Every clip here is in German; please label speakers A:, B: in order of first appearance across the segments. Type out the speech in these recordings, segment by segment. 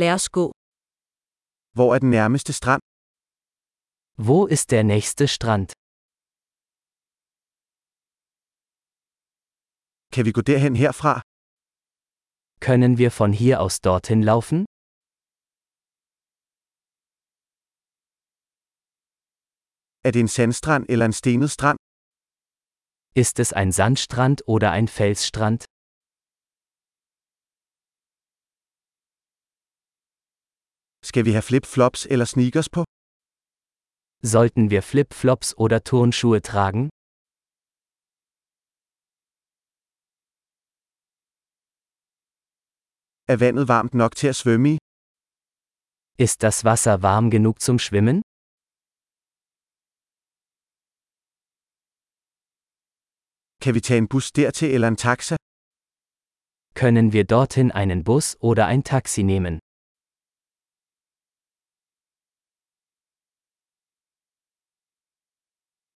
A: Lad os gå.
B: Hvor er den nærmeste strand?
C: Wo ist der nächste Strand?
B: Kan vi gå derhen herfra?
C: Können wir von hier aus dorthin laufen?
B: Er det en sandstrand eller en stenet strand?
C: Ist es ein Sandstrand oder ein Felsstrand?
B: Skal vi have flip-flops eller sneakers på?
C: Sollten wir Flipflops oder Turnschuhe tragen?
B: Er vandet varmt nok til at svømme i?
C: Ist das Wasser warm genug zum Schwimmen?
B: Kan vi tage en bus dertil eller en taxa?
C: Können wir dorthin einen Bus oder ein Taxi nehmen?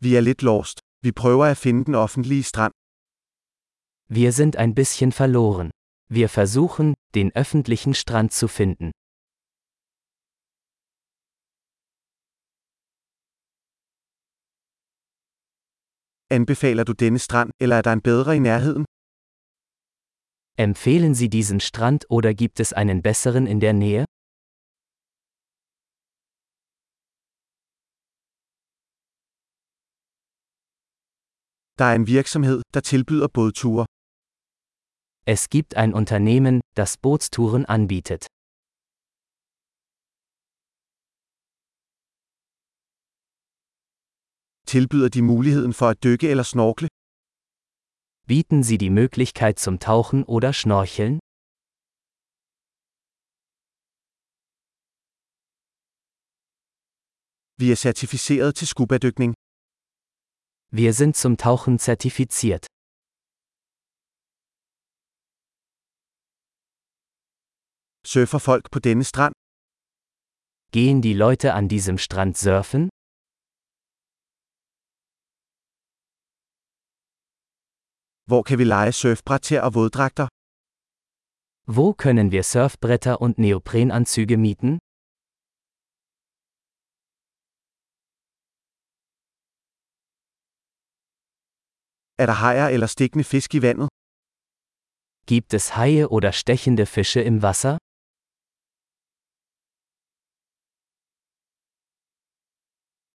B: Vi er lidt lost. Vi prøver at finde den offentlige strand.
C: Wir sind ein bisschen verloren. Wir versuchen, den öffentlichen Strand zu finden.
B: Anbefaler du denne strand, eller er der en bedre i nærheden?
C: Empfehlen Sie diesen Strand oder gibt es einen besseren in der Nähe?
B: Der er en virksomhed, der tilbyder bådture.
C: Es gibt ein Unternehmen, das Bootstouren anbietet.
B: Tilbyder de muligheden for at dykke eller snorkle?
C: Bieten Sie die Möglichkeit zum Tauchen oder Schnorcheln?
B: Vi er certificeret til skubadykning.
C: Wir sind zum Tauchen zertifiziert.
B: Surfer folk på denne strand?
C: Gehen die Leute an diesem Strand surfen?
B: Hvor kan vi lege surfbræt til og våddragter?
C: Wo können wir Surfbretter und Neoprenanzüge mieten?
B: Er der hajer eller stikkende fisk i vandet?
C: Gibt es Haie oder stechende Fische im Wasser?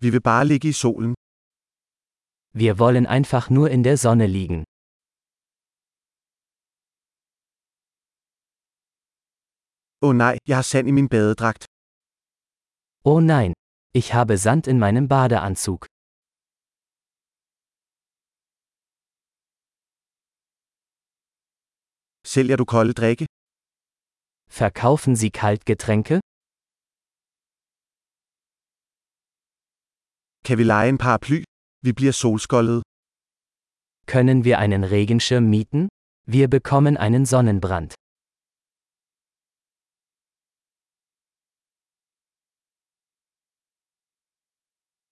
B: Vi vil bare ligge i solen.
C: Wir wollen einfach nur in der Sonne liegen.
B: Åh oh nej, jeg har sand i min badedragt.
C: Oh nein, ich habe Sand in meinem Badeanzug.
B: Sælger du kolde drikke?
C: Verkaufen Sie Kaltgetränke?
B: Kan vi lege en paraply? Vi bliver solskoldede.
C: Können wir einen Regenschirm mieten? Wir bekommen einen Sonnenbrand.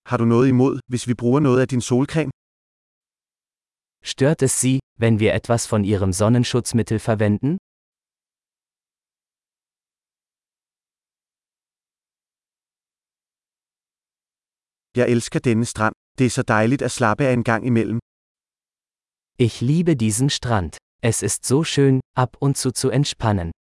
B: Har du noget imod, hvis vi bruger noget af din solcreme?
C: Stört es Sie, wenn wir etwas von Ihrem Sonnenschutzmittel verwenden?
B: Jeg elsker denne strand. Det er så dejligt at slappe af en gang imellem.
C: Ich liebe diesen Strand. Es ist so schön, ab und zu zu entspannen.